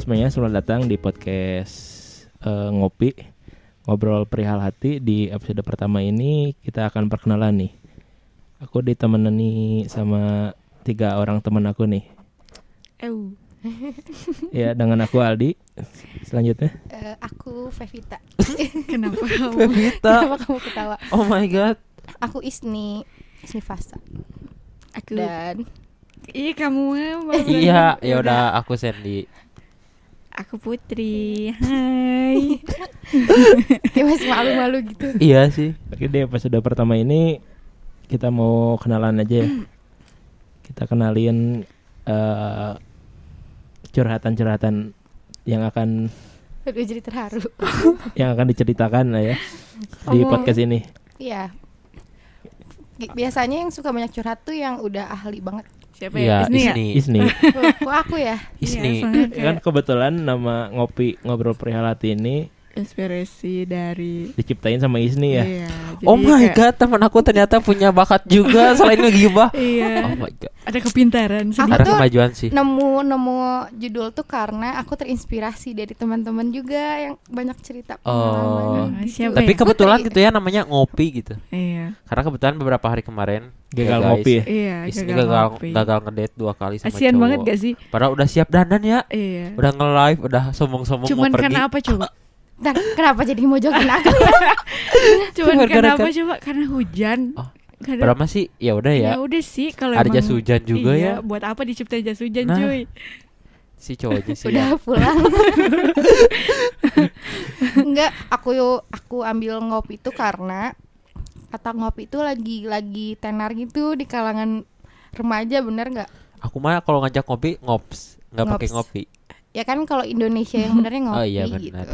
semuanya, selamat datang di podcast eh, ngopi ngobrol perihal hati di episode pertama ini kita akan perkenalan nih. Aku ditemani sama tiga orang teman aku nih. Ew. Ya dengan aku Aldi. Selanjutnya. Eh, aku Fevita. Kenapa kamu? Pevita. Kenapa kamu ketawa? Oh my god. Aku Isni, Isni Fasa. Aku. Dan Iya kamu mah. Iya, ya udah aku Sandy. Aku Putri. Hai. dia masih malu-malu gitu. iya sih. Oke di episode pertama ini kita mau kenalan aja ya. Kita kenalin eh, curhatan-curhatan yang akan Aduh jadi terharu. yang akan diceritakan lah ya di Oh. podcast ini. Iya. Bi- Biasanya yang suka banyak curhat tuh yang udah ahli banget. Siapa ya? Iya, Isni ya? Isni. Isni. Kok aku ya? Iya, Isni. soalnya kan kayak kebetulan nama ngopi ngobrol perihal hati ini inspirasi dari. diciptain sama Isni ya. Iya. jadi Oh my kayak- god, teman aku ternyata punya bakat juga selain ngegibah. Iya. Oh my god. Ada kepintaran Aku Ada sedikit. tuh kemajuan sih. Nemu nemu judul tuh karena aku terinspirasi dari teman-teman juga yang banyak cerita pengalaman. Oh, gitu. siapa Tapi ya? kebetulan Putri. gitu ya namanya ngopi gitu. Iya. Karena kebetulan beberapa hari kemarin Gagal guys, ngopi ya. Iya. Isni gagal gagal ngopi. gagal ngedate dua kali sama Kasian cowok. banget gak sih? Padahal udah siap dandan ya. Iya. Udah nge-live, udah sombong-sombong Cuman mau pergi. karena apa coba? Dan kenapa jadi mojokin aku? Cuman Cuman karena karena- apa coba? Karena hujan. Oh, Karena- Berapa sih? Ya udah Ya ya. udah sih kalau Ada emang- jas hujan juga iya, ya. Buat apa diciptain jas hujan Nah. cuy? Si cowoknya Iya. sih. udah ya. pulang enggak aku yuk aku ambil ngopi itu karena kata ngopi itu lagi lagi tenar gitu di kalangan remaja bener nggak Aku mah kalau ngajak ngopi ngops, nggak pakai Ngops. ngopi. ya kan kalau Indonesia yang benernya ngopi Oh iya, gitu benar.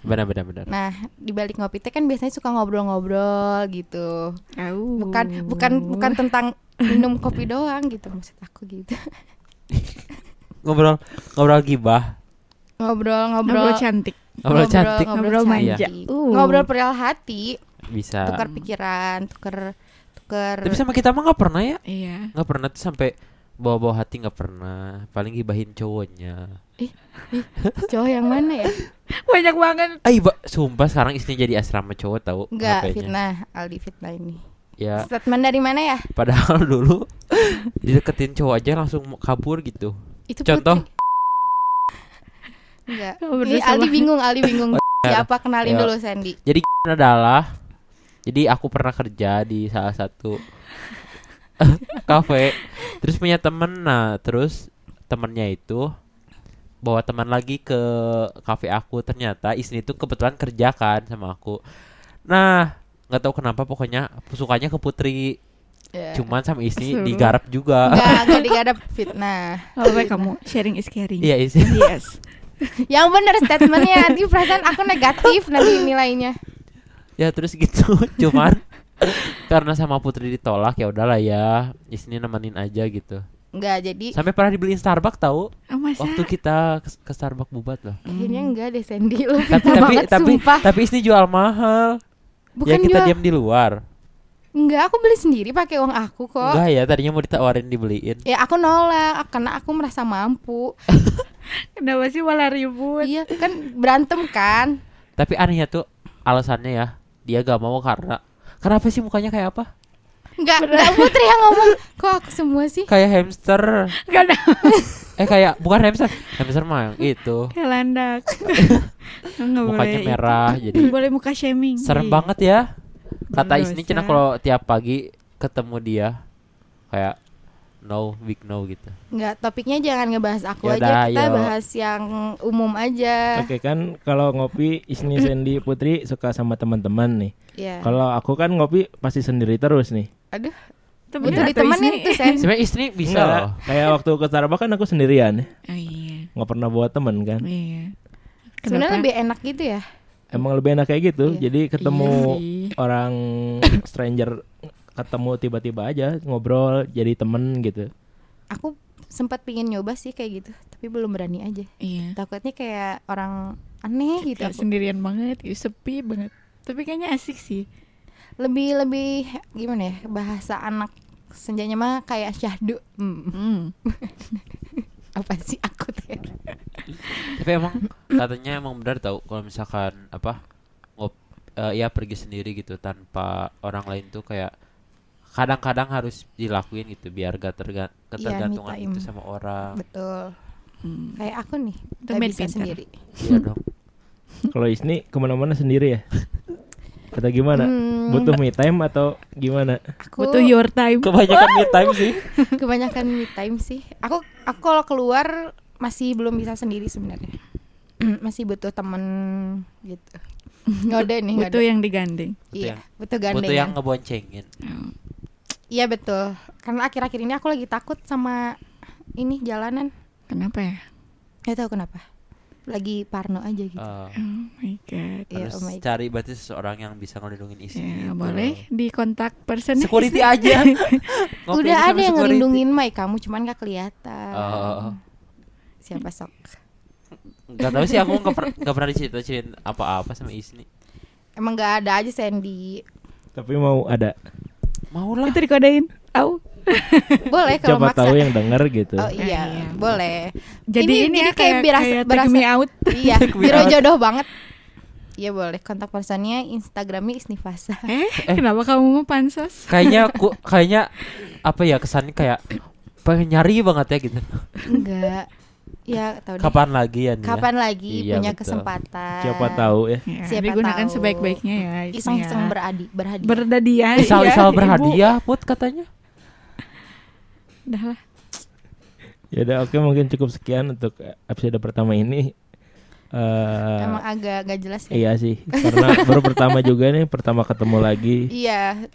Benar benar benar. nah di balik ngopi teh kan biasanya suka ngobrol-ngobrol gitu Au. bukan bukan bukan tentang minum kopi doang gitu maksud aku gitu ngobrol ngobrol gibah ngobrol-ngobrol ngobrol cantik. ngobrol, cantik ngobrol, Ngobrol manja. cantik. Uh. ngobrol perihal hati bisa tukar pikiran tukar tukar Kan. tapi sama kita mah nggak pernah ya Iya. nggak pernah tuh sampai bawa-bawa hati nggak pernah paling gibahin cowoknya cowok yang mana ya Banyak banget. eh ba- sumpah sekarang istrinya jadi asrama cowok tahu enggak HP-nya. fitnah Aldi fitnah ini ya statement dari mana ya padahal dulu dideketin cowok aja langsung mau kabur gitu itu contoh putri. enggak Oh, ini berdua Iya, Aldi sama. bingung Aldi bingung siapa kenalin Ya. dulu Sandy adalah jadi aku pernah kerja di salah satu kafe terus punya temen nah terus temennya itu bawa teman lagi ke kafe aku ternyata Isni itu kebetulan kerja kan sama aku nah nggak tahu kenapa pokoknya sukanya ke Putri Ya. cuman sama Isni Seru. digarap juga enggak enggak digadap fitnah Oh, baik kamu sharing is caring. iya Isni Yes. yang bener statementnya nanti perasaan aku negatif nanti nilainya ya terus gitu cuman karena sama Putri ditolak ya udahlah ya Isni nemenin aja gitu enggak jadi sampai pernah dibeliin Starbucks tahu Oh, masa? waktu kita ke, ke Starbucks bubat loh. kayaknya enggak deh Sandy lu Tapi fitnah tapi banget, tapi sumpah. tapi Isni jual mahal. bukan ya kita jual diam di luar. enggak aku beli sendiri pakai uang aku kok Enggak ya, tadinya mau ditawarin dibeliin. ya aku nolak karena aku merasa mampu Kenapa sih malah ribut? iya kan berantem kan Tapi anehnya tuh alasannya ya, dia gak mau karena Kenapa sih mukanya kayak apa? Enggak, enggak Putri yang ngomong Kok aku semua sih? Kayak hamster. Karena Eh kayak bukan hamster. Hamster mah yang itu. kayak landak. Enggak Mukanya merah jadi Boleh muka shaming. serem Iya. banget ya. Kata Isni Berdosa. cina kalau tiap pagi ketemu dia kayak no big no gitu. Enggak, topiknya jangan ngebahas aku aja Yaudah, Kita ayo. bahas yang umum aja Oke kan kalau ngopi Isni Sandy Putri suka sama teman-teman nih. Iya. Ya. Kalau aku kan ngopi pasti sendiri terus nih. Aduh, Temenin butuh atau ditemenin Isni? tuh, Sen Sebenarnya Isni bisa Enggak lah, loh. Kayak waktu ke Starbucks kan aku sendirian. Oh, iya. Nggak pernah bawa teman kan. Iya. Kenapa? Sebenarnya lebih enak gitu ya Emang lebih enak kayak gitu. Iya. Jadi ketemu Iya sih. orang stranger ketemu tiba-tiba aja ngobrol jadi temen gitu. Aku sempat pingin nyoba sih kayak gitu Tapi belum berani aja Iya. Takutnya kayak orang aneh gitu Kayak aku. sendirian banget, gitu, sepi banget. Tapi kayaknya asik sih. Lebih, lebih gimana ya Bahasa anak senjanya mah kayak syahdu Hmm, Hmm. Apa sih aku tuh ya? Tapi tapi emang katanya emang benar tahu kalau misalkan apa ngop eh, ya pergi sendiri gitu tanpa orang lain tuh kayak kadang-kadang harus dilakuin gitu biar gak terga- ketergantungan Iya, time. gitu sama orang Betul. Hmm. Kayak aku nih, Itu nggak main bisa pinter. sendiri. Iya dong Kalau Isni kemana-mana sendiri ya? Atau gimana? Hmm, Butuh me time atau gimana? aku Butuh your time. kebanyakan me time sih kebanyakan me time sih. Aku aku kalau keluar masih belum bisa sendiri sebenarnya. masih butuh temen gitu. Ngode nih, ngode. Butuh yang digandeng. Iya, yang- butuh butuh yang gandengan. ngeboncengin Iya, betul. Karena akhir-akhir ini aku lagi takut sama ini jalanan. Kenapa ya? Gak tahu kenapa. Lagi parno aja gitu. Eh, Oh my god. Iya, harus oh my God. cari berarti seseorang yang bisa ngelindungin Iya, istri Ya, gitu. boleh di kontak person security aja Ngopi aja Udah ada sama yang security. ngelindungin Mai kamu cuman gak kelihatan. Oh. Siapa sok? Gak tau sih aku gak, per- gak pernah diceritain apa-apa sama Isni Emang gak ada aja Sandy. Tapi mau ada. Mau Itu dikodain. Au. Boleh kalau Siapa maksa. tahu yang denger gitu. Oh Ya, iya, iya. boleh. Jadi ini, ya, kayak, berasa- kayak take berasa- me out. iya, Take me biro out. jodoh banget. Iya boleh. Kontak personnya Instagramnya Isnifasa. Eh, kenapa kamu mau pansos? Kayaknya aku Kayaknya Apa ya kesannya kayak Pengen nyari banget ya gitu Enggak. Ya tahu deh. Kapan lagi ya nih ya? Kapan lagi Iya, punya betul. kesempatan? Siapa tahu ya? Ya, Siapa digunakan tahu. sebaik-baiknya ya. Isni Iseng-iseng ya. beradi, berhadi. berdadiah. ya, Isal-isal Ibu. berhadiah Put katanya Udah lah. Ya udah oke mungkin cukup sekian untuk episode pertama ini. Eh Emang agak gak jelas ya. iya sih, karena baru pertama juga nih, pertama ketemu lagi. Iya.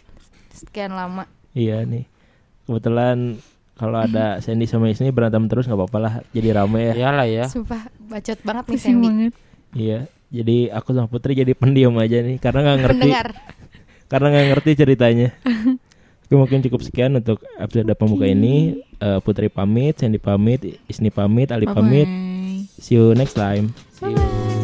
Sekian lama. Iya nih. Kebetulan kalau ada Sandy sama Isni berantem terus nggak apa-apa lah, jadi rame ya. Iya. Iyalah ya Sumpah bacot banget nih Pusing Sandy. banget. Iya. Jadi aku sama Putri jadi pendiam aja nih karena nggak ngerti Pendengar. karena nggak ngerti ceritanya. Oke, mungkin cukup sekian untuk episode pembuka ini. Eh, Putri pamit, Sandy pamit, Isni pamit, Ali pamit. Bye-bye. See you next time. See you.